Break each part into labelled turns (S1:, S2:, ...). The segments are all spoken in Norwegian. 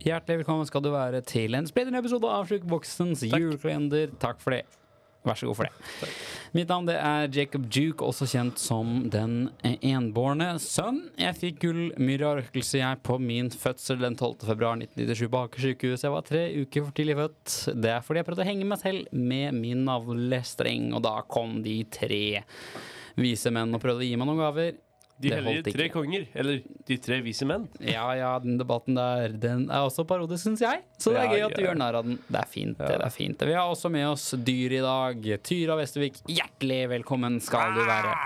S1: Hjertelig velkommen skal du være til en spredende episode av Sjukeboksens julekalender. Takk for det. Vær så god for det. Mitt navn det er Jacob Duke, også kjent som Den enbårne sønn. Jeg fikk gullmyrra røkelse jeg på min fødsel den 12. februar 1997 på Aker sykehus. Jeg var tre uker for tidlig født. Det er fordi jeg prøvde å henge meg selv med min navlestreng, og da kom de tre vise menn og prøvde å gi meg noen gaver.
S2: De
S1: Det
S2: hellige
S1: holdt ikke.
S2: tre konger, eller de tre vise menn.
S1: Ja ja, den debatten der Den er også parodisk, syns jeg. Så det er
S2: Ja,
S1: gøy at du
S2: ja.
S1: gjør narr av den. Det er fint, det. det er fint Vi har også med oss dyr i dag. Tyra Vestervik, hjertelig velkommen skal du være.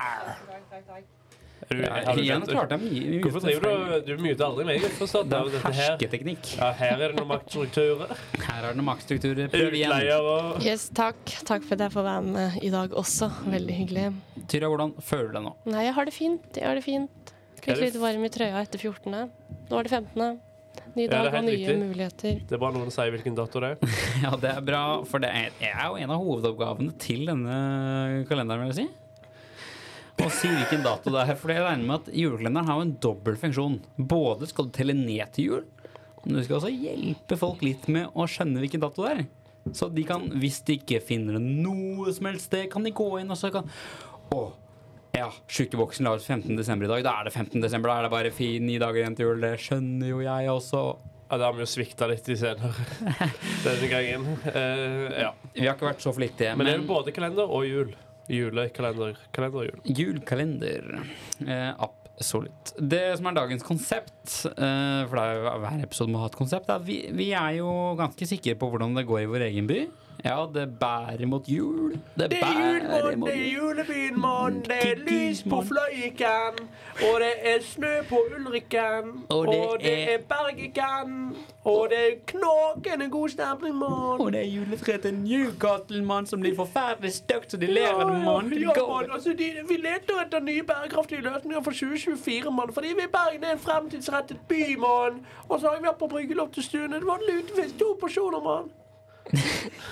S2: Er du,
S1: Ja,
S2: har du
S1: igjen
S2: glemt-
S1: klarte jeg mye.
S2: Hvorfor driver du du muter aldri meg? Jeg forstår at
S1: Det
S2: det er jo
S1: er
S2: dette her.
S1: hersketeknikk.
S2: Ja, her er det noen maktstrukturer.
S1: Her er det maktstrukturer. Prøv igjen.
S2: Utleier og
S3: Yes, takk. Takk for at jeg får være med i dag også. Veldig hyggelig.
S1: Tyra, hvordan føler du deg nå?
S3: Nei, jeg har det fint. Jeg har det fint.
S2: Er
S3: Fikk
S2: det
S3: litt varm i trøya etter 14. Nå er det 15. Ny
S2: Ja,
S3: dag
S2: det er
S3: og
S2: helt
S3: nye
S2: riktig.
S3: muligheter.
S2: Det er bare noen som sier hvilken dato det er.
S1: Ja, det er bra, for det er er jo en av hovedoppgavene til denne kalenderen, vil jeg si. Å si hvilken dato det er, for jeg regner med at julekalenderen har jo en dobbel funksjon. Både skal du telle ned til jul, men du skal også hjelpe folk litt med å skjønne hvilken dato det er. Så de kan, hvis de ikke finner det noe som helst sted, kan de gå inn og så kan Å, ja, sjukeboksen la ut 15. desember i dag. Da er det 15. desember, da er det bare fi- ni dager igjen til jul. Det skjønner jo jeg også.
S2: Ja, det har vi jo svikta litt i senere denne gangen. Eh, ja.
S1: Vi har ikke vært så flittige.
S2: Men det er jo både kalender og jul. Julekalender. Kalender og jul.
S1: Julkalender. Eh, absolutt. Det som er dagens konsept, eh, for det er jo hver episode må ha et konsept, er at vi, vi er jo ganske sikre på hvordan det går i vår egen by. Ja, det bærer mot jul. Det bærer mot jul.
S2: julebyen, det
S1: er lys på
S2: Fløyiken, og det er snø på Ulriken,
S1: Og det og det er- er
S2: Bergiken, og det er knokende god stemning, mann.
S1: Og det er juletreet til Newcastle-mann som blir forferdelig stygt, så de ler av det, mann. Det går.
S2: Altså, vi leter etter nye bærekraftige løsninger for 2024, mann. Fordi vi i Bergen er en fremtidsrettet by, mann. Og så har vi vært på bryggeloft til Stune. Det var lutefisk. To porsjoner, mann.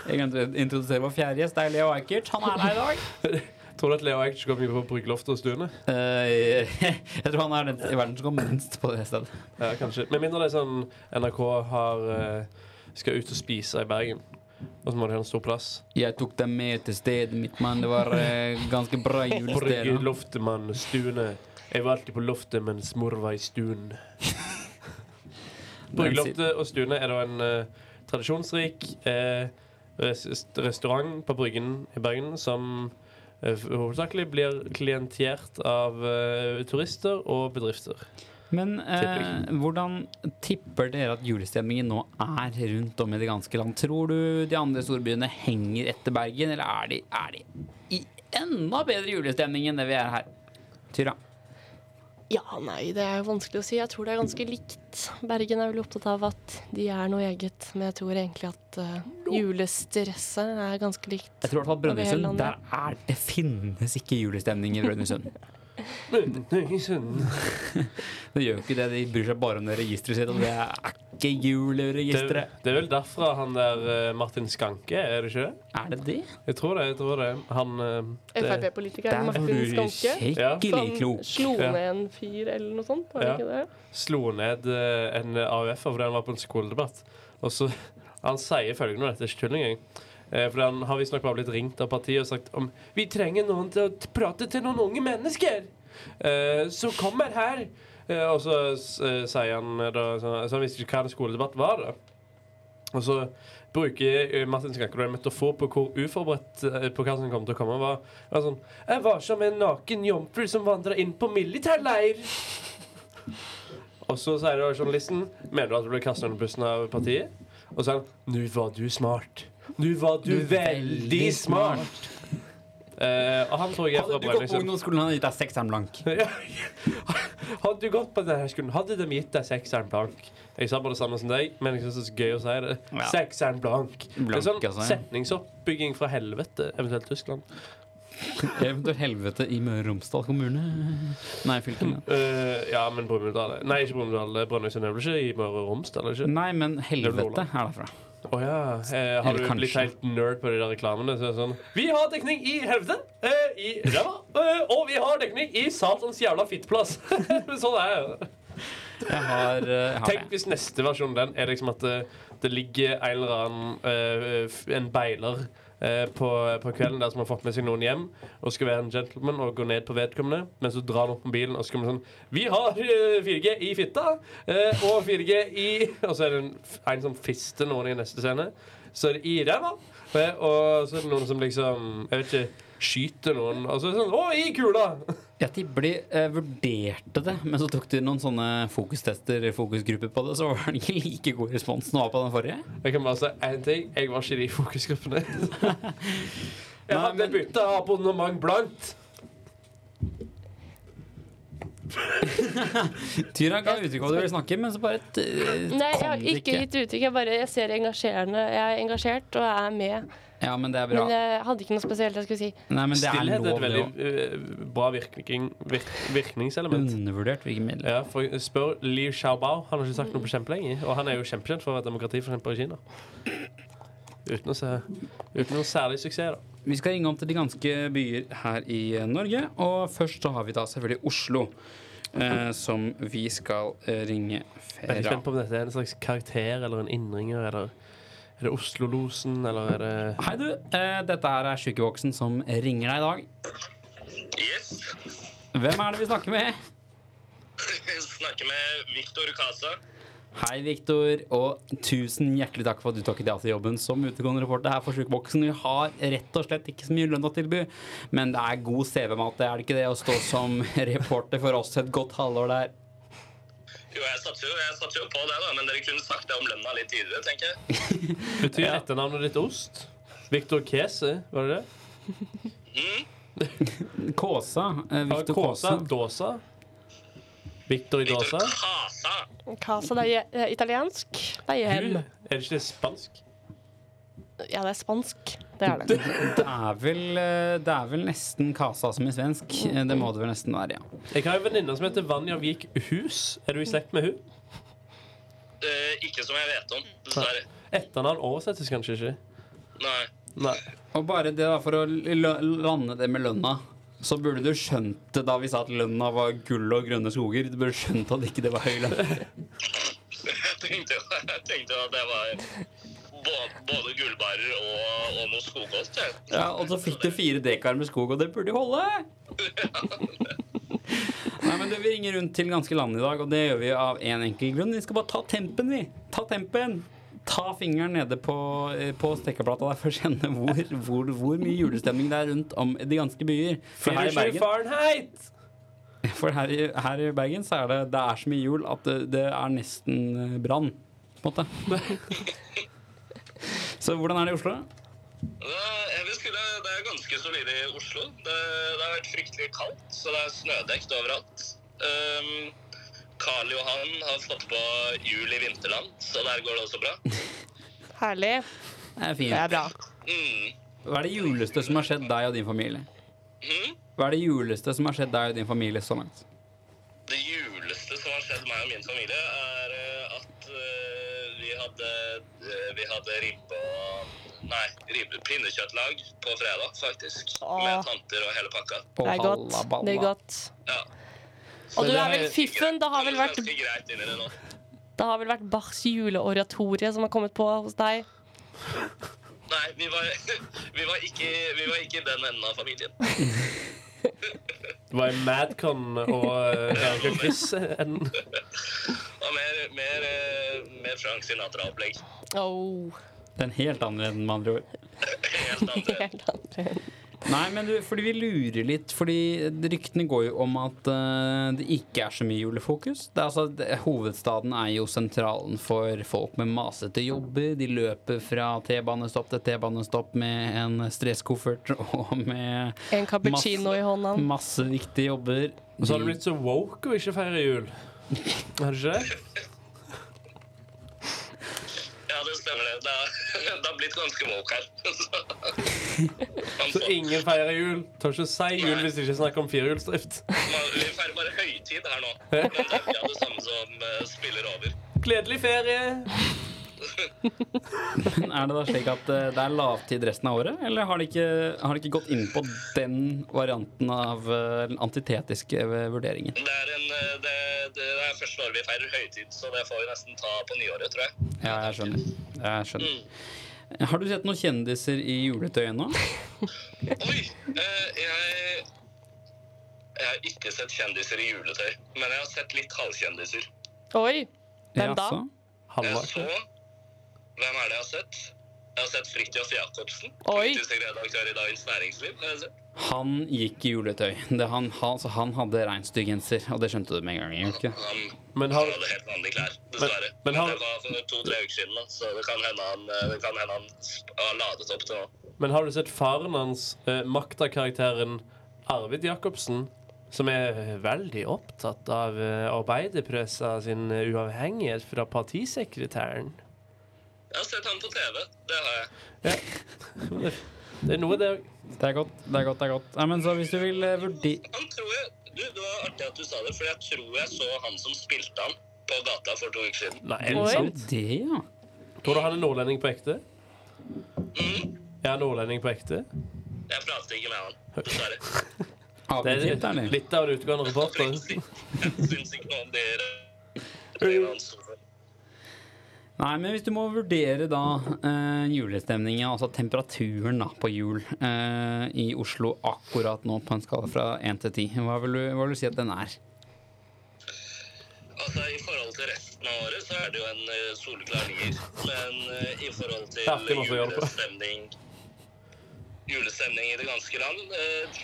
S1: Jeg glemte å introdusere vår fjerde gjest, det er Leo Ajkic. Han er her i dag.
S2: Tror du at Leo Eikers går mye på bryggeloftet og Stune?
S1: Eh, jeg tror han er den i verden som går minst på det stedet.
S2: Ja, kanskje. Med mindre det er sånn NRK har, eh, skal ut og spise i Bergen. Og så må de ha en stor plass.
S1: Jeg tok dem med til stedet mitt, mann. Det var eh, ganske bra julested.
S2: Brygge, loftet, mann. Stune. Jeg var alltid på loftet mens mor var i stuen. Bryggeloftet og Stune er da en eh, tradisjonsrik eh, res restaurant på Bryggen i Bergen som eh, hovedsakelig blir klientert av eh, turister og bedrifter.
S1: Men eh, hvordan tipper dere at julestemningen nå er rundt om i det ganske land? Tror du de andre storbyene henger etter Bergen, eller er de, er de i enda bedre julestemning enn det vi er her? Tyra.
S3: Ja, nei, det er jo vanskelig å si. Jeg tror det er ganske likt. Bergen er vel opptatt av at de er noe eget, men jeg tror egentlig at eh, julestresset er ganske likt.
S1: Jeg tror i hvert fall
S3: Over hele
S1: Brønnøysund.
S3: landet.
S1: Der er det finnes ikke julestemning i Brønnøysund.
S2: Det
S1: Det gjør jo ikke det. De bryr seg bare om det registeret sitt, og det er ikke jul i
S2: er,
S1: registeret.
S2: det er vel derfra han der eh, Martin Skanke, er det ikke det?
S1: Er det det?
S2: Jeg tror det. jeg tror det Han eh, det,
S3: Frp-politiker
S1: Der var
S3: Martin
S1: du
S3: Skanke.
S1: skikkelig
S3: Som
S1: klok.
S3: slo
S2: Ja.
S3: ned en fyr eller noe sånt, var det
S2: Ja.
S3: ikke det?
S2: slo ned eh, en AUF-er fordi han var på en skoledebatt. Og så Han sier følgende, og dette er ikke tull engang. Eh, fordi han har visstnok bare blitt ringt av partiet og sagt om Vi trenger noen til å t- prate til noen unge mennesker eh, som kommer her. Eh, og så s- eh, sier han eh, da så, så han visste ikke hva en skoledebatt var, da. Og så bruker eh, Martin Skankerud en metafor på hvor uforberedt eh, på hva som kom til å komme. Var, var sånn, jeg var som en naken jomfru som vandra inn på militærleir. Og så sier da journalisten Mener du at du ble kastet under bussen av partiet? Og så sier han Nå var du smart. Nå var du, veldig smart. Eh, og han tror jeg er
S1: Hadde du gått
S2: fra
S1: på
S2: Brønnøysund.
S1: ungdomsskolen, hadde jeg gitt deg sekseren blank.
S2: Ja. Hadde du gått på denne skolen, hadde de gitt deg sekseren blank. Jeg sa bare det samme som deg, men jeg synes det er så gøy å si det.
S1: Ja.
S2: Sekseren blank. Det
S1: Blank,
S2: er sånn
S1: altså, ja.
S2: setningsoppbygging fra helvete, eventuelt Tyskland.
S1: Eventuelt helvete i Møre og Romsdal kommune. Nei, fylken. ja.
S2: Eh, ja, men Brumunddal Nei, ikke Brumunddal. Brønnøysund er vel ikke i Møre og Romsdal? er det Ikke?
S1: Nei, men helvete er derfra.
S2: Å ja. Eh, har
S1: Eller
S2: du
S1: kanskje.
S2: blitt helt nerd på de der reklamene? Så er det sånn Vi har dekning i helvete, eh, i ræva, eh, og vi har dekning i satans jævla fittplass. sånn er det.
S1: Jeg har, eh, jeg har
S2: Tenk
S1: det.
S2: hvis neste versjon den er liksom at det, det ligger en eller annen eh, f- En beiler eh, på, på kvelden der som har fått med seg noen hjem, og skal være en gentleman og gå ned på vedkommende, men så drar han opp mobilen og så kommer det sånn Vi har eh, 4G i fitta! eh, og 4G i Og så er det en, en som fister noen i neste scene. Så er det i ræva. eh, Og så er det noen som liksom Jeg vet ikke Skyter noen. Og så er det sånn Å, i kula!
S1: Jeg tipper de eh, vurderte det, men så tok de noen sånne fokustester, fokusgrupper på det, så var det ikke like god respons som det var på den forrige.
S2: Jeg kan bare si én ting. Jeg var ikke i de fokusgruppene. Jeg
S1: Nei,
S2: hadde
S1: men-
S2: bytta abonnement blankt.
S1: Tyra ga uttrykk for hva du ville snakke, men så bare t
S3: Nei, jeg
S1: kom
S3: har
S1: det
S3: ikke
S1: ikke.
S3: gitt uttrykk. Jeg bare jeg ser det engasjerende. Jeg er engasjert og er med.
S1: Ja, men det er bra.
S3: Men eh, jeg hadde ikke noe spesielt jeg skulle si.
S1: Nei, men det er
S2: Stillhet er
S1: lov,
S2: et
S1: det
S2: veldig
S1: òg.
S2: eh, bra virkning, virk,
S1: Mm.
S2: virkningselement.
S1: Undervurdert virkemiddel.
S2: Ja, for Spør Liu Xiaobao. Han har ikke sagt noe på kjempelenge. Og han er jo kjempekjent for å være demokratiforkjemper i Kina. Uten, å se, uten noe særlig suksess, da.
S1: Vi skal ringe om til de ganske byer her i eh, Norge, og først så har vi da selvfølgelig Oslo. Eh, som vi skal eh, ringe
S2: Jeg er
S1: Fera.
S2: spent på om dette er en slags karakter eller en innringer. Eller er det Oslo-losen, eller er det
S1: Hei, du. Eh, dette her er Sjukevoksen som ringer deg i dag.
S4: Yes.
S1: Hvem er det vi snakker med?
S4: Jeg snakker med Victor Casa.
S1: Hei, Viktor, og tusen hjertelig takk for at du takket ja til jobben som utegående reporter her for Sjukeboksen. Vi har rett og slett ikke så mye lønn å tilby, men det er god CV-mat, det er det ikke det? Å stå som reporter for oss et godt halvår der.
S4: Jo, jeg satser jo, jeg satser jo på det, da, men dere kunne sagt det om lønna litt tidligere, tenker jeg.
S2: Betyr etternavnet ditt ost? Victor Kese, var det det?
S1: Kåsa. Eh, Viktor
S2: Kåsa.
S1: Kåsa.
S2: Dåsa. Victor i Dåsa.
S4: Victor Casa.
S3: Casa, det er je- det er italiensk. Det er hjem.
S2: Er det ikke det spansk?
S3: Ja, det er spansk. Det er det.
S1: Det er vel, eh, det er vel nesten Kasa som i svensk. Eh, Det må det vel nesten være, ja.
S2: Jeg har en venninne som heter Vanja Vik Hus. Er du i slekt med hun?
S4: Eh, ikke som jeg vet om, dessverre.
S2: Etternavn oversettes kanskje ikke?
S4: Nei.
S2: Nei.
S1: Og bare det da, for å l- lande det med lønna, så burde du skjønt det da vi sa at lønna var gull og grønne skoger. Du burde skjønt at ikke det var høy lønn.
S4: Jeg tenkte, jo- jeg tenkte jo at det var både, både gullbarer og, og noe skogost. jeg.
S1: Ja, og så fikk du fire dekar med skog, og det burde jo holde! Nei, men du, Vi ringer rundt til ganske land i dag, og det gjør vi av én en enkel grunn. Vi skal bare ta tempen, vi. Ta tempen. Ta fingeren nede på, eh, på stekkeplata der for å kjenne hvor, hvor, hvor mye julestemning det er rundt om i de ganske byer. For her i
S2: 24
S1: Bergen,
S2: Fahrenheit!
S1: for her i, her i Bergen så er det, det er så mye jul at det, det er nesten eh, brann. På en måte. Så hvordan er det i Oslo?
S4: Det er- Jeg vil skulle, det er ganske solid i Oslo. Det, det har vært fryktelig kaldt, så det er snødekt overalt. Ehm, Karl Johan har fått på jul i vinterland, så der går det også bra.
S3: Herlig.
S1: Det er
S3: Det er
S1: fint.
S3: bra.
S4: Mm.
S1: Hva er det juleste som har skjedd deg og din familie?
S3: Hmm?
S4: Mm.
S1: Hva er det juleste som har skjedd deg og din familie så langt?
S4: Det juleste som har skjedd meg og min familie, er eh, at eh, vi hadde, eh, vi hadde ribbe og Nei, ribbe, pinnekjøttlag på fredag, faktisk. Med
S3: Åh.
S4: tanter og hele pakka.
S1: På
S3: Det er godt.
S1: Hallaballa.
S3: Det er godt.
S4: Ja.
S3: Og du
S2: det
S3: er
S2: er-
S3: vel fiffen? Det har vel vært,
S4: Ganske greit inn i det nå.
S3: det har vel vært Bachs juleoratorie som har kommet på hos deg?
S4: Nei, vi var, vi var, ikke, vi var ikke i den enden av familien.
S2: Det var en Madcon og eh, Erik og Chris. En,
S4: Det var mer, mer, eh, mer Frank Sinatra-opplegg.
S3: Oh,
S1: Den helt annerledes, med andre ord.
S4: Helt andre.
S3: helt andre.
S1: Nei, men du, fordi vi lurer litt, fordi ryktene går jo om at eh, det ikke er så mye julefokus. Det er altså, det, hovedstaden er jo sentralen for folk med masete jobber. De løper fra T-banestopp til T-banestopp med en stresskoffert og med
S3: En cappuccino i hånda.
S1: masse viktige jobber.
S2: og så har du blitt så woke og ikke feirer jul. Har du ikke det?
S4: Ja, det stemmer det. Det har- det har blitt ganske woke her.
S2: Så ingen feirer jul. Tør ikke å si jul hvis det ikke er snakk om firehjulsdrift.
S4: Man, vi feirer bare høytid her nå. Men det er mye av det samme som eh, spiller over.
S2: Gledelig ferie!
S1: Men er det da slik at eh, det er lavtid resten av året, eller har de ikke, har de ikke gått inn på den varianten av eh, den antitetiske eh, vurderingen?
S4: Det er en, eh, det, det er første året vi feirer høytid, så det får vi nesten ta på nyåret, tror jeg.
S1: Ja, jeg skjønner. Jeg skjønner. Mm. Har du sett noen kjendiser i juletøy ennå?
S4: Oi! eh, jeg, jeg har ikke sett kjendiser i juletøy, men jeg har sett litt halvkjendiser.
S3: Oi! Hvem da?
S1: Jaså?
S4: Jeg
S2: Halvard.
S4: så Hvem er det jeg har sett? Jeg har sett Fridtjof Jacobsen.
S3: Oi.
S4: Politisk redaktør i Dagens Næringsliv. har jeg sett.
S1: Han gikk i juletøy. Det han, han, så han hadde reinsdyrgenser, og det skjønte du med en gang. gjorde du Ikke?
S4: Han,
S2: Men
S4: han
S2: har
S4: hadde helt vanlige klær,
S2: Men-
S4: dessverre. Men,
S2: men har-
S4: det var for to-tre uker siden, da, så det kan hende han, eh, det kan hende han sp- har ladet opp til nå.
S2: Men har du sett faren hans, eh, maktakarakteren Arvid Jacobsen, som er eh, veldig opptatt av eh, arbeiderpressa sin eh, uavhengighet fra partisekretæren?
S4: Jeg har sett han på TV. Det har jeg.
S2: Det er noe det
S1: Det er godt. det er godt, det er godt. Nei, men så hvis du vil eh, vurdi...
S4: Han tror jeg, du, Det var artig at du sa det, for jeg tror jeg så han som spilte han på gata for to uker siden.
S2: Nei, er det
S3: Oi.
S2: sant?
S1: Det, ja.
S2: Tror du han er nordlending på ekte? Er han nordlending på ekte?
S4: Jeg pratet ikke med han, dessverre.
S2: Det
S1: Avgitt,
S2: er
S1: eller?
S2: litt av en utgående reporter.
S4: Oppriktig. Jeg syns ikke noe om det reglene hans.
S1: Nei, men hvis du må vurdere da eh, julestemningen, altså temperaturen da på jul eh, i Oslo akkurat nå på en skala fra 1 til 10, hva vil du, hva vil du si at den er?
S4: Altså, I forhold til resten av året så er det jo en eh, soleklar nier, men eh, i forhold til
S2: Ja, det må vi gjøre på.
S4: julestemning Julestemning i det ganske land eh,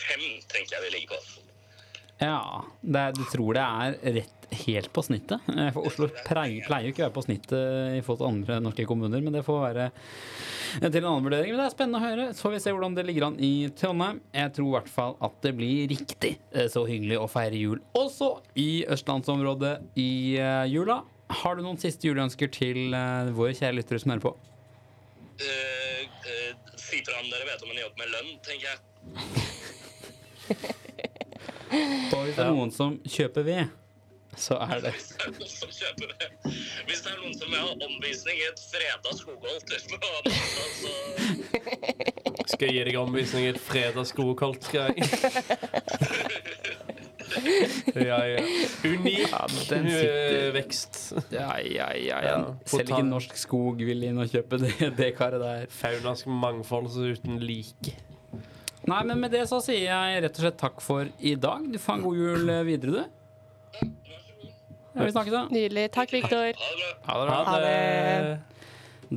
S4: Fem tenker jeg vi ligger på.
S1: Ja, det, er- du tror det er rett helt på snittet. Eh, For Oslo pleier, pleier jo ikke å være på snittet i forhold til andre norske kommuner, men det får være til en annen vurdering. Men det er spennende å høre. Så får vi se hvordan det ligger an i Trondheim. Jeg tror i hvert fall at det blir riktig eh, så hyggelig å feire jul også i østlandsområdet i eh, jula. Har du noen siste juleønsker til eh, våre kjære lyttere som hører på?
S4: Eh, eh, si fra om dere vet om en jobb med lønn, tenker jeg.
S1: Og hvis det er noen som kjøper ved, så er det
S4: Hvis det er noen som kjøper det. Hvis det er noen som vil ha omvisning i et freda skogholt, på mandag, så
S2: Skal jeg gi deg omvisning i et fredagsgodkoldt skreik? Ja, ja. Unik
S1: den
S2: eh,
S1: sitter.
S2: vekst.
S1: Ja, ja, ja, ja.
S2: Ja,
S1: Selv ikke
S2: potan-
S1: norsk skog vil inn og kjøpe det, det karet der.
S2: Faunask mangfold så uten like.
S1: Nei, men med det så sier jeg rett og slett takk for i dag. Du får en god jul eh, videre, du. Ja, vi snakkes, da.
S3: Nydelig. Takk, Viktor.
S4: ha det bra.
S1: Ha det
S2: Ha
S1: bra.
S2: det.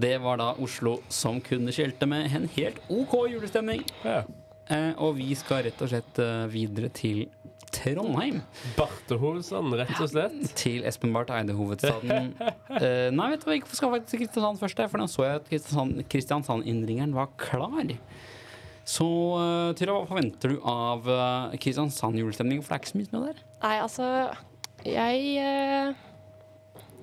S1: Det var da Oslo som kunne skjelte med en helt OK julestemning.
S2: Ja.
S1: Eh, og vi skal rett og slett eh, videre til Trondheim.
S2: Bartehovsand, rett og slett.
S1: Til Espen Barth Eide, hovedstaden. Eh, nei, vet du hva, jeg skal faktisk til Kristiansand først, jeg, for da så jeg at Kristiansand- Kristiansand-innringeren var klar. Så eh, Tyra, hva forventer du av eh, Kristiansand-julestemning? For det er ikke så mye snø der.
S3: Nei, altså Jeg eh,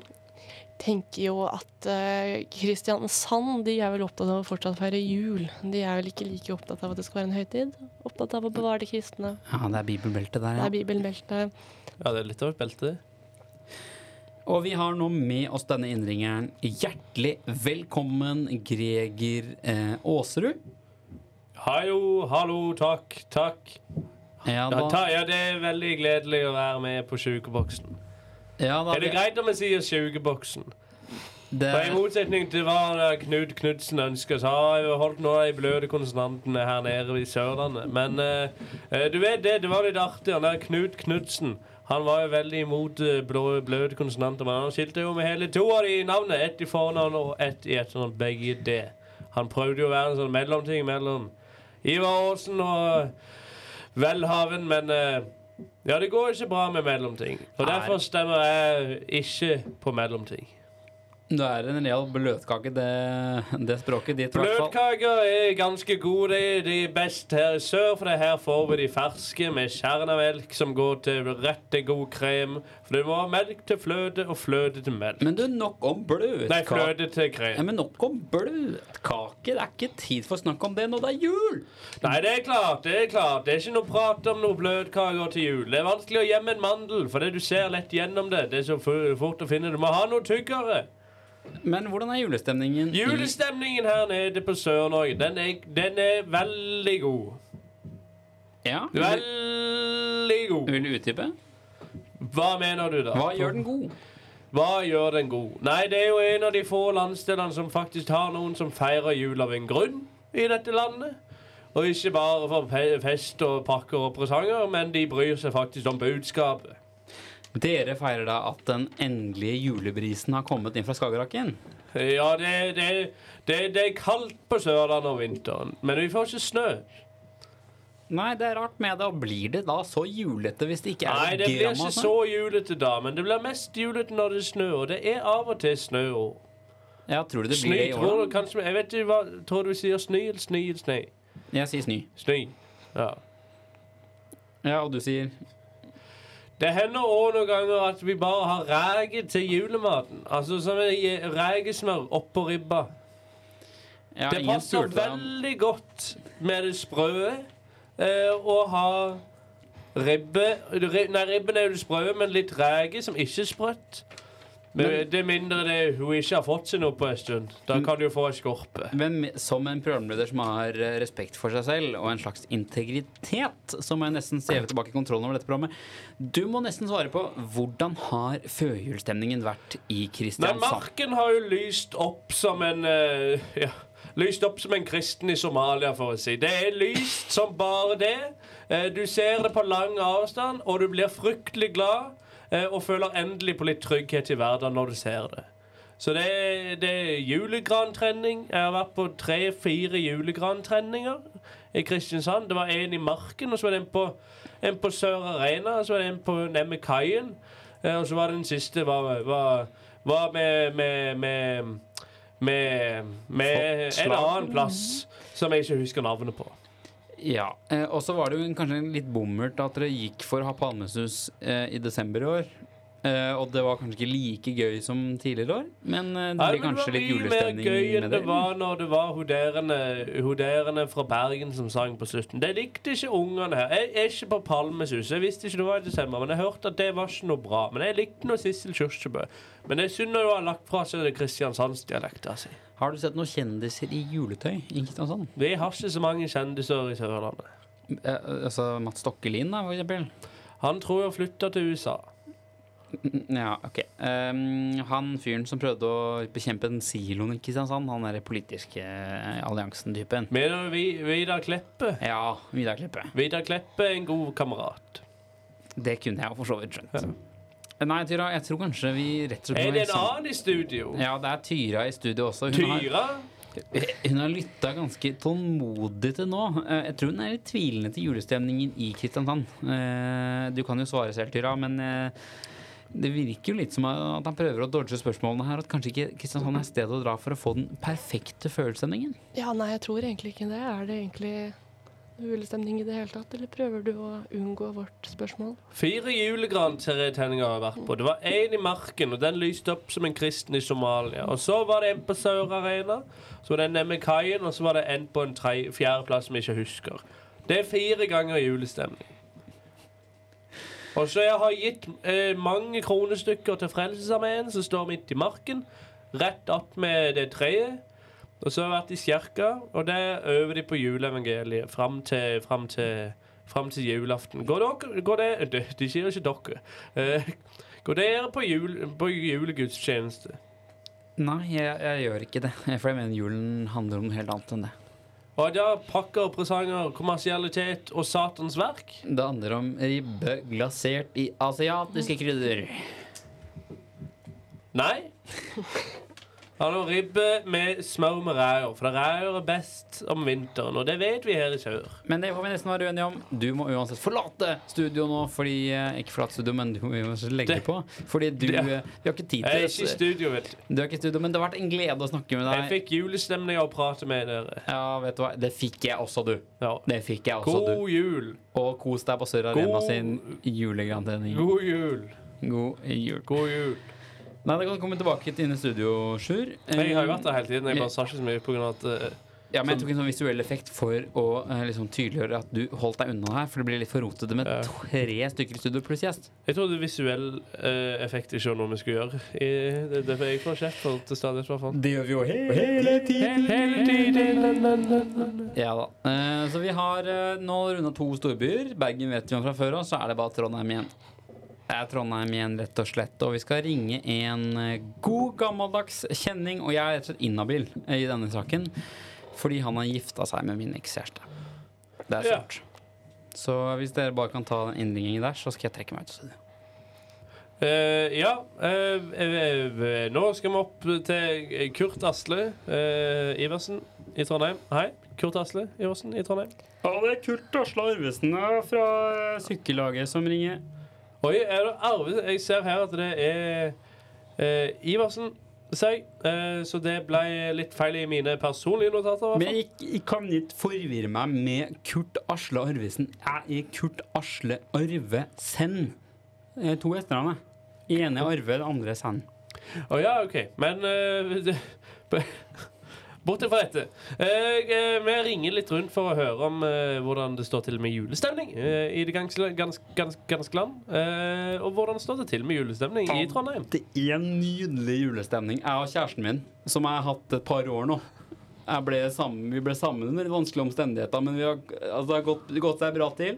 S3: tenker jo at eh, Kristiansand de er vel opptatt av å fortsatt feire jul. De er vel ikke like opptatt av at det skal være en høytid. Opptatt av å bevare det kristne.
S1: Ja, det er bibelbeltet der,
S3: Det
S1: ja.
S3: er bibelbeltet.
S2: Ja, det er litt av et belte.
S1: Og vi har nå med oss denne innringeren. Hjertelig velkommen, Greger eh, Aaserud.
S2: Hallo, hallo, takk, takk.
S1: Ja
S2: Ja,
S1: da.
S2: ta, ja, det er veldig gledelig å være med på sjukeboksen.
S1: Ja, da
S2: Er det greit om jeg sier sjukeboksen?
S1: det
S2: For I motsetning til hva eh, Knut Knudsen ønsker, så har jeg jo holdt noen av de bløde konsonantene her nede i Sørlandet. Men eh, eh, du vet det, det var litt artig. Han der Knut Knudsen. Han var jo veldig imot eh, blå, bløde konsonanter, men han skilte jo med hele to av de i navnet. Ett i fornavn og ett i etternavn. Begge det. Han prøvde jo å være en sånn mellomting mellom Ivar Aasen og eh, Velhaven, men eh, ja, det går ikke bra med mellomting. Og
S1: Nei.
S2: derfor stemmer jeg ikke på mellomting.
S1: det er en real bløtkake, det, det språket ditt, i hvert fall.
S2: Bløtkaker er ganske gode. De er de best her i sør, for det her får vi de ferske med kjernemelk som går til rette god krem. For du må ha melk til fløte og fløte til melk.
S1: Men du, nok om
S2: Nei,
S1: bløtkake.
S2: fløte til
S1: Ja,
S2: krem.
S1: men nok om bløtkake. Det er ikke tid for å snakke om det når det er jul!
S2: Nei, det er klart. Det er klart. Det er ikke noe prat om noe bløtkaker til jul. Det er vanskelig å gjemme en mandel, for det du ser lett gjennom det. Det er så fu- fort å finne. Du må ha noe tykkere.
S1: Men hvordan er julestemningen? i-
S2: Julestemningen her nede på Sør-Norge, den, er- den er veldig god.
S1: Ja,
S2: Du er
S1: vil,
S2: veldig god.
S1: vil du utdype?
S2: Hva mener du, da?
S1: Hva gjør den god?
S2: Hva gjør den god? Nei, det er jo en av de få landsdelene som faktisk har noen som feirer jul av en grunn i dette landet. Og ikke bare for fe- fest og pakker og presanger, men de bryr seg faktisk om budskapet.
S1: Dere feirer da at den endelige julebrisen har kommet inn fra Skagerrakken.
S2: Ja, det, det, det, det er kaldt på Sørlandet om vinteren, men vi får ikke snø.
S1: Nei, det er rart med det. Og blir det da så julete hvis det ikke er
S2: Nei, det
S1: et
S2: blir
S1: gram av
S2: ikke
S1: snø?
S2: så julete da, men det blir mest julete når det snør. Og det er av og til snø òg.
S1: Ja, tror du det blir
S2: Snø
S1: det i
S2: tror
S1: år?
S2: du kanskje Jeg vet ikke hva Tror du sier snø eller snø eller snø?
S1: da? Jeg sier snø.
S2: Snø. Ja.
S1: Ja, og du sier
S2: Det hender òg noen ganger at vi bare har reker til julematen. Altså som en rekesmør oppå ribba.
S1: ja,
S2: Det
S1: ingen
S2: passer
S1: stultveran.
S2: veldig godt med det sprøe eh, å ha ribbe ri- Nei, ribben er jo det sprøe, men litt reke som ikke er sprøtt. Men
S1: Men-
S2: det er mindre det hun ikke har fått seg noe på en stund. Da kan du jo få ei skorpe.
S1: Men med- som en programleder som har eh, respekt for seg selv og en slags integritet, så må jeg nesten stjele tilbake kontrollen over dette programmet. Du må nesten svare på hvordan har førjulsstemningen vært i
S2: Men
S1: Kristiansand?
S2: marken har jo lyst opp som en eh, ja, Lyst opp som en kristen i Somalia, for å si. Det er lyst som bare det. Eh, du ser det på lang avstand, og du blir fryktelig glad. eh, og føler endelig på litt trygghet i hverdagen når du ser det. Så det er, det er julegrantrenning. Jeg har vært på tre-fire julegrantrenninger i Kristiansand. Det var en i Marken, og så var det en på, en på Sør Arena, og så var det en på nede ved kaien. Eh, Og så var det den siste var, var, var med, med, med, med, med en
S1: Slottslaget.
S2: annen plass som jeg ikke husker navnet på.
S1: Ja, eh, Og så var det jo en- kanskje en litt bommert at dere gikk for å ha palmesus eh, i desember i år. Eh, og det var kanskje ikke like gøy som tidligere år, men eh, det
S2: Nei,
S1: blir
S2: men
S1: kanskje litt
S2: Det var mye mer gøy
S1: julestemning
S2: enn
S1: med
S2: det
S1: det.
S2: var når det var hoderene fra Bergen som sang på slutten. Det likte ikke ungene her. Jeg er ikke på Palmesus. Jeg visste ikke det var i desember, men jeg hørte at det var ikke noe bra. Men jeg likte nå Sissel Kyrkjebø. Men det er synd når hun har lagt fra seg kristiansandsdialekta si.
S1: Har du sett noen kjendiser i juletøy i Kristiansand?
S2: Vi har ikke så mange kjendiser i Sørlandet.
S1: Eh, altså Matt Stokkelin, da, for eksempel.
S2: Han tror jeg flytta til USA.
S1: Mm, Ja, ok. Ehm, han fyren som prøvde å bekjempe den siloen i Kristiansand, han er den politiske alliansen-typen.
S2: Mener du Vi- Vidar Kleppe?
S1: Ja, Vidar Kleppe.
S2: Vidar Kleppe er en god kamerat.
S1: Det kunne jeg jo for så vidt skjønt. Nei, Tyra, jeg tror kanskje vi rett og slett
S2: Er
S1: må
S2: det en
S1: liksom-
S2: annen i studio?
S1: Ja, det er Tyra i studio også. Hun har,
S2: Tyra?
S1: hun har lytta ganske tålmodig til nå. Eh, Jeg tror hun er litt tvilende til julestemningen i Kristiansand. Eh, Du kan jo svare selv, Tyra, men eh, det virker jo litt som at han prøver å dodge spørsmålene her. At kanskje ikke Kristiansand er stedet å dra for å få den perfekte følelsestemningen.
S3: Ja, nei, jeg tror egentlig ikke det. Er det egentlig noe julestemning i det hele tatt, eller prøver du å unngå vårt spørsmål?
S2: Fire julegrantrenninger har jeg vært på. Det var én i Marken, og den lyste opp som en kristen i Somalia. Og så var det en på Sør Arena, så var det en nede ved kaien, og så var det en på en tre- fjerdeplass som jeg ikke husker. Det er fire ganger julestemning. Og så jeg har gitt eh, mange kronestykker til Frelsesarmeen, som står midt i marken, rett opp med det treet. Og så har jeg vært i kirka, og der øver de på juleevangeliet fram til, fram til, fram til julaften. Går dere går det, de, de sier ikke dere. Eh, går dere på, jul, på julegudstjeneste?
S1: Nei, jeg, jeg gjør ikke det. For jeg mener julen handler om noe helt annet enn det.
S2: Og da pakker, presanger, kommersialitet og Satans verk?
S1: Det handler om ribbe glasert i asiatiske krydder.
S2: Nei. Han har ribbe med smør med ræer, for ræer er best om vinteren, og det vet vi her i sør.
S1: Men det får vi nesten være uenige om. Du må uansett forlate studio nå. Fordi, eh, ikke forlate studio, men du må uansett legge
S2: Det-
S1: på. Fordi du
S2: det-
S1: eh, Vi har ikke tid
S2: Jeg er ikke
S1: til
S2: i
S1: det.
S2: studio, vet du.
S1: Du er ikke i studio, men det har vært en glede å snakke med
S2: Jeg
S1: deg.
S2: fikk julestemning av å prate med dere.
S1: Ja, vet du hva. Det fikk jeg også, du.
S2: Ja.
S1: Det fikk jeg også,
S2: God
S1: du.
S2: jul.
S1: Og kos deg på Sør Arena
S2: God-
S1: sin julegrantending.
S2: God jul.
S1: God jul.
S2: God jul.
S1: Nei, det kan komme tilbake til inn i studio, Sjur.
S2: Mm. Jeg har jo vært der hele tiden. Jeg bare sa ikke så mye pga. at eh,
S1: Ja, men jeg tok en sånn visuell effekt for å eh, liksom tydeliggjøre at du holdt deg unna her, for det blir litt for rotete med
S2: Ja.
S1: tre stykker i studio pluss gjest.
S2: Jeg trodde visuell eh, effekt ikke var noe vi skulle gjøre. I, det, det er jeg får kjeft for til stadighet, i hvert fall.
S1: Det gjør vi jo hele tiden.
S2: Hele tiden na, na, na, na, na.
S1: Ja da. Eh, Så vi har eh, nå runda to storbyer. Bergen vet vi om fra før av, så er det bare Trondheim igjen. Det er Trondheim igjen, rett og slett. Og vi skal ringe en eh, god gammeldags kjenning, og jeg er rett og slett inhabil eh, i denne saken. Fordi han har gifta seg med min ekskjæreste. Det er
S2: Ja.
S1: stort. Så hvis dere bare kan ta den innringingen der, så skal jeg trekke meg ut av studio.
S2: Eh, ja, eh, eh, eh, nå skal vi opp til Kurt Asle eh, Iversen i Trondheim. Hei. Kurt Asle Iversen i Trondheim.
S1: Ja, det er Kurt Asle Arvesen fra sykkellaget som ringer.
S2: Oi, er det Arve? Jeg ser her at det er eh, Iversen, sier jeg. Eh, så det ble litt feil i mine personlige notater. i hvert
S1: Men
S2: fall.
S1: jeg, jeg kan ikke forvirre meg med Kurt Asle Arvesen. Jeg er Kurt Asle Arvesen. Eh, To etternavn, jeg. Ene er Arve, det andre er Sen.
S2: Å ja, OK. Men eh, det- b- Bortsett fra dette. Eh, eh, vi ringer litt rundt for å høre om eh, hvordan det står til med julestemning eh, i det ganske, ganske, ganske, ganske land. Eh, og hvordan står det til med julestemning i Trondheim?
S1: Det er en nydelig julestemning. Jeg og kjæresten min, som jeg har hatt et par år nå jeg ble sammen, Vi ble sammen under litt vanskelige omstendigheter, men vi har, altså, det har gått, gått seg bra til.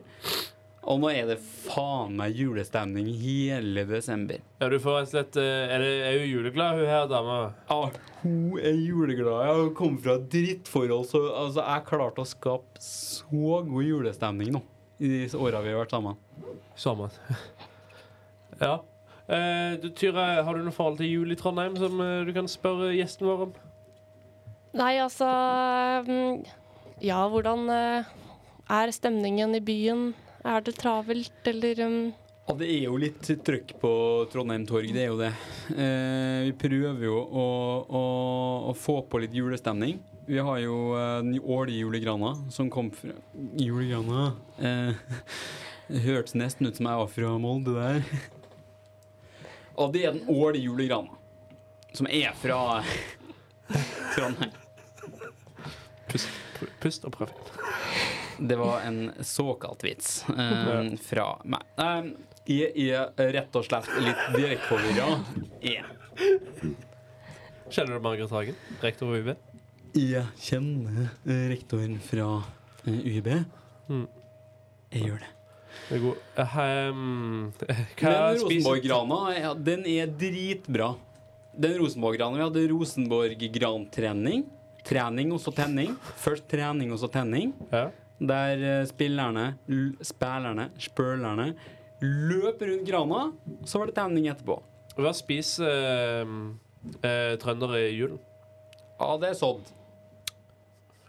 S1: Og nå er det faen meg julestemning hele desember.
S2: Ja, du får rett og slett eh, Er, det, er hun juleglad, hun her dama?
S1: Ja, hun er juleglad. Jeg har kommet fra et drittforhold, så altså, jeg klarte å skape så god julestemning nå. I de åra vi har vært sammen.
S2: Sammen. ja. Eh, du, Tyra, har du noe forhold til jul i Trondheim som eh, du kan spørre gjesten vår om?
S3: Nei, altså mm, Ja, hvordan eh, er stemningen i byen? Er det travelt, eller mm,
S1: Ja, det er jo litt trøkk på Trondheim Torg, det er jo det. Eh, vi prøver jo å, å, å få på litt julestemning. Vi har jo eh, den årlige julegrana som kom fra Julegrana? Eh, det hørtes nesten ut som jeg var fra Molde der. Og det er den årlige julegrana som er fra Trondheim.
S2: Pust, pr- pust og prøv.
S1: Det var en såkalt vits eh, fra meg. Ehm, Em, jeg er rett og slett litt direkteforvirra. Jeg
S2: Kjenner du Margaret Hagen, rektor ved UiB?
S1: Jeg kjenner eh, rektoren fra eh, UiB.
S2: Mm.
S1: Jeg gjør det.
S2: Det er god. Eh, ehm, hva
S1: Men
S2: spiser-
S1: Rosenborg-grana, ja, den er dritbra. Den Rosenborg-grana Vi hadde Rosenborg-grantrening. Trening og så tenning. Først trening og så tenning.
S2: Ja.
S1: Der eh, spillerne, l spillerne, spølerne løp rundt grana, så var det tenning etterpå.
S2: Hva spiser ehm, eh, trøndere i julen?
S1: Ja, det er sådd.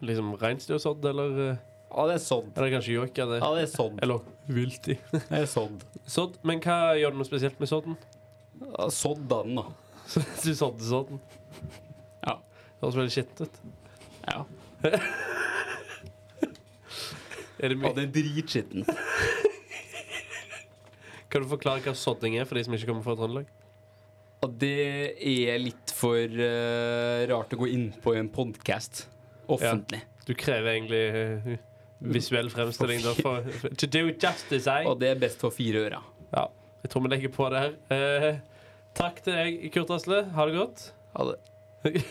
S2: Liksom reinsdyrsodd, eller, eh,
S1: Ja, det er sådd.
S2: eller kanskje joik? Eller,
S1: Ja, det er sådd.
S2: eller vilt i.
S1: Det er sådd.
S2: Sodd. Men hva gjør du noe spesielt med sodden?
S1: Ja, sådd av den, da.
S2: du sådde sodden?
S1: Ja.
S2: Det høres veldig skittent ut.
S1: Ja.
S2: Er det mye-
S1: ja det er dritskitten.
S2: Kan du forklare hva sodding er for de som ikke kommer fra Trøndelag?
S1: Og det er litt for eh, rart å gå inn på i en podkast. Offentlig.
S2: Du krever egentlig eh, visuell fremstilling. Da, for, to do justice, eh?
S1: Og det er best for fire ører.
S2: Ja, jeg tror vi legger på det her. Eh, takk til deg, Kurt Asle. Ha det godt.
S1: Ja, det-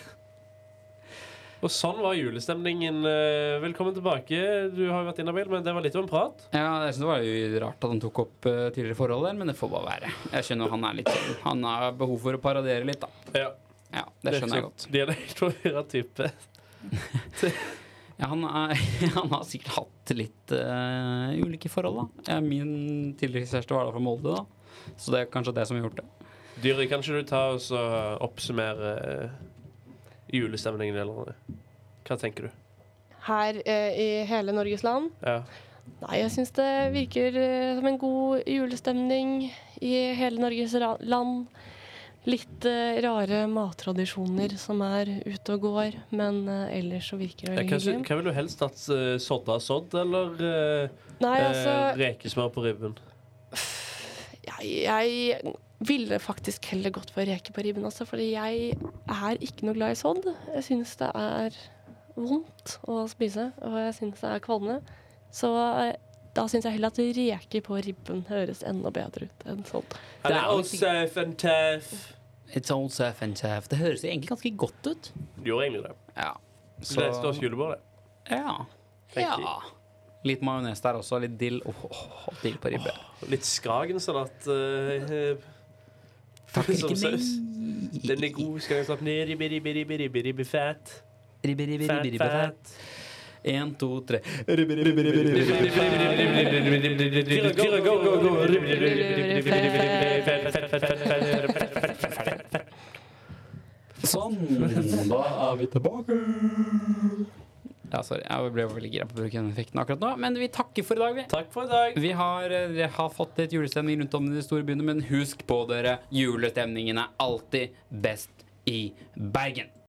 S2: Og sånn var julestemningen. Eh, velkommen tilbake. Du har jo vært inhabil, men det var litt av en prat.
S1: Ja, jeg synes det var jo rart at han tok opp eh, tidligere forhold der, men det får bare være. Jeg skjønner han er litt sånn. Han har behov for å paradere litt, da.
S2: Ja,
S1: Ja, det skjønner jeg godt.
S2: De er en ekstraordinær type.
S1: Ja, han, er, han har sikkert hatt litt eh, ulike forhold, da. Ja, min tidligere kjæreste var da fra Molde, da. Så det er kanskje det som har gjort det.
S2: Dyri, kan ikke du ta oss og oppsummere eh, julestemningen? Eller? Hva tenker du?
S3: her eh, i hele Norges land?
S2: Ja.
S3: Nei, jeg syns det virker eh, som en god julestemning i hele Norges ra land. Litt eh, rare mattradisjoner som er ute og går, men eh, ellers så virker det
S2: Ja, hva,
S3: veldig
S2: sy-
S3: hyggelig.
S2: hva vil du helst at uh, sodda er sådd, eller eh,
S3: Nei,
S2: eh,
S3: altså,
S2: rekesmør på ribben?
S3: jeg, jeg ville faktisk heller gått for reker på ribben, altså, fordi jeg er ikke noe glad i sodd. Jeg syns det er vondt å spise, og jeg syns det er kvalme, så eh, da syns jeg heller at reker på ribben høres enda bedre ut enn sånn.
S1: Det er jo
S2: safe and tough.
S1: It's all safe and safe. Det høres jo egentlig ganske godt ut.
S2: Du gjorde egentlig det.
S1: Ja.
S2: Så... Det står julebordet.
S1: ja.
S2: Thank
S1: ja. Litt majones der også, litt dill. Åh, åh, dill på ribbe.
S2: Litt Skagen-salat. eh,
S1: Takk,
S2: som
S1: ikke
S2: saus.
S1: nei.
S2: Den er god. Skagen-salat. Ribbe, ribbe, ribbe, ribbe, ribbe, fat.
S1: Ribbe, ribbe,
S2: Fat,
S1: ribbe, ribbe, fat.
S2: fat.
S1: En, to, tre. Ribbe, ribbe, ribbe, ribbe, ribbe, ribbe.
S2: Fyra, go, go, go, go. Ribbe, ribbe, ribbe, ribbe, ribbe, ribbe, fat, fat, fat, fat, fat, fat, fat, fat, fat, fat, fat.
S1: Sånn. Da er vi tilbake. Ja, sorry. Jeg ble veldig gira på å bruke den effekten akkurat nå. Men vi takker for i dag, vi.
S2: Takk for i dag.
S1: Vi har, eh, vi har fått litt julestemning rundt om i de store byene, men husk på dere, julestemningen er alltid best i Bergen.